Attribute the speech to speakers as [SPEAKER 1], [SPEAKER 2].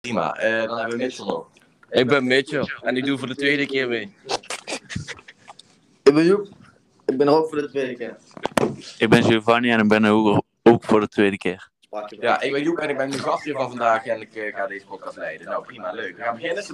[SPEAKER 1] prima. Eh, dan hebben we Mitchell nog.
[SPEAKER 2] Ik ben Mitchell en ik doe voor de tweede keer mee.
[SPEAKER 3] Ik ben Joep. Ik ben er ook voor de tweede keer.
[SPEAKER 4] Ik ben Giovanni en ik ben er ook, ook voor de tweede keer.
[SPEAKER 3] Sprak je wel.
[SPEAKER 1] Ja, ik ben Joep en ik ben de gastheer van vandaag en ik eh, ga deze podcast leiden. Nou, prima, leuk. We gaan beginnen.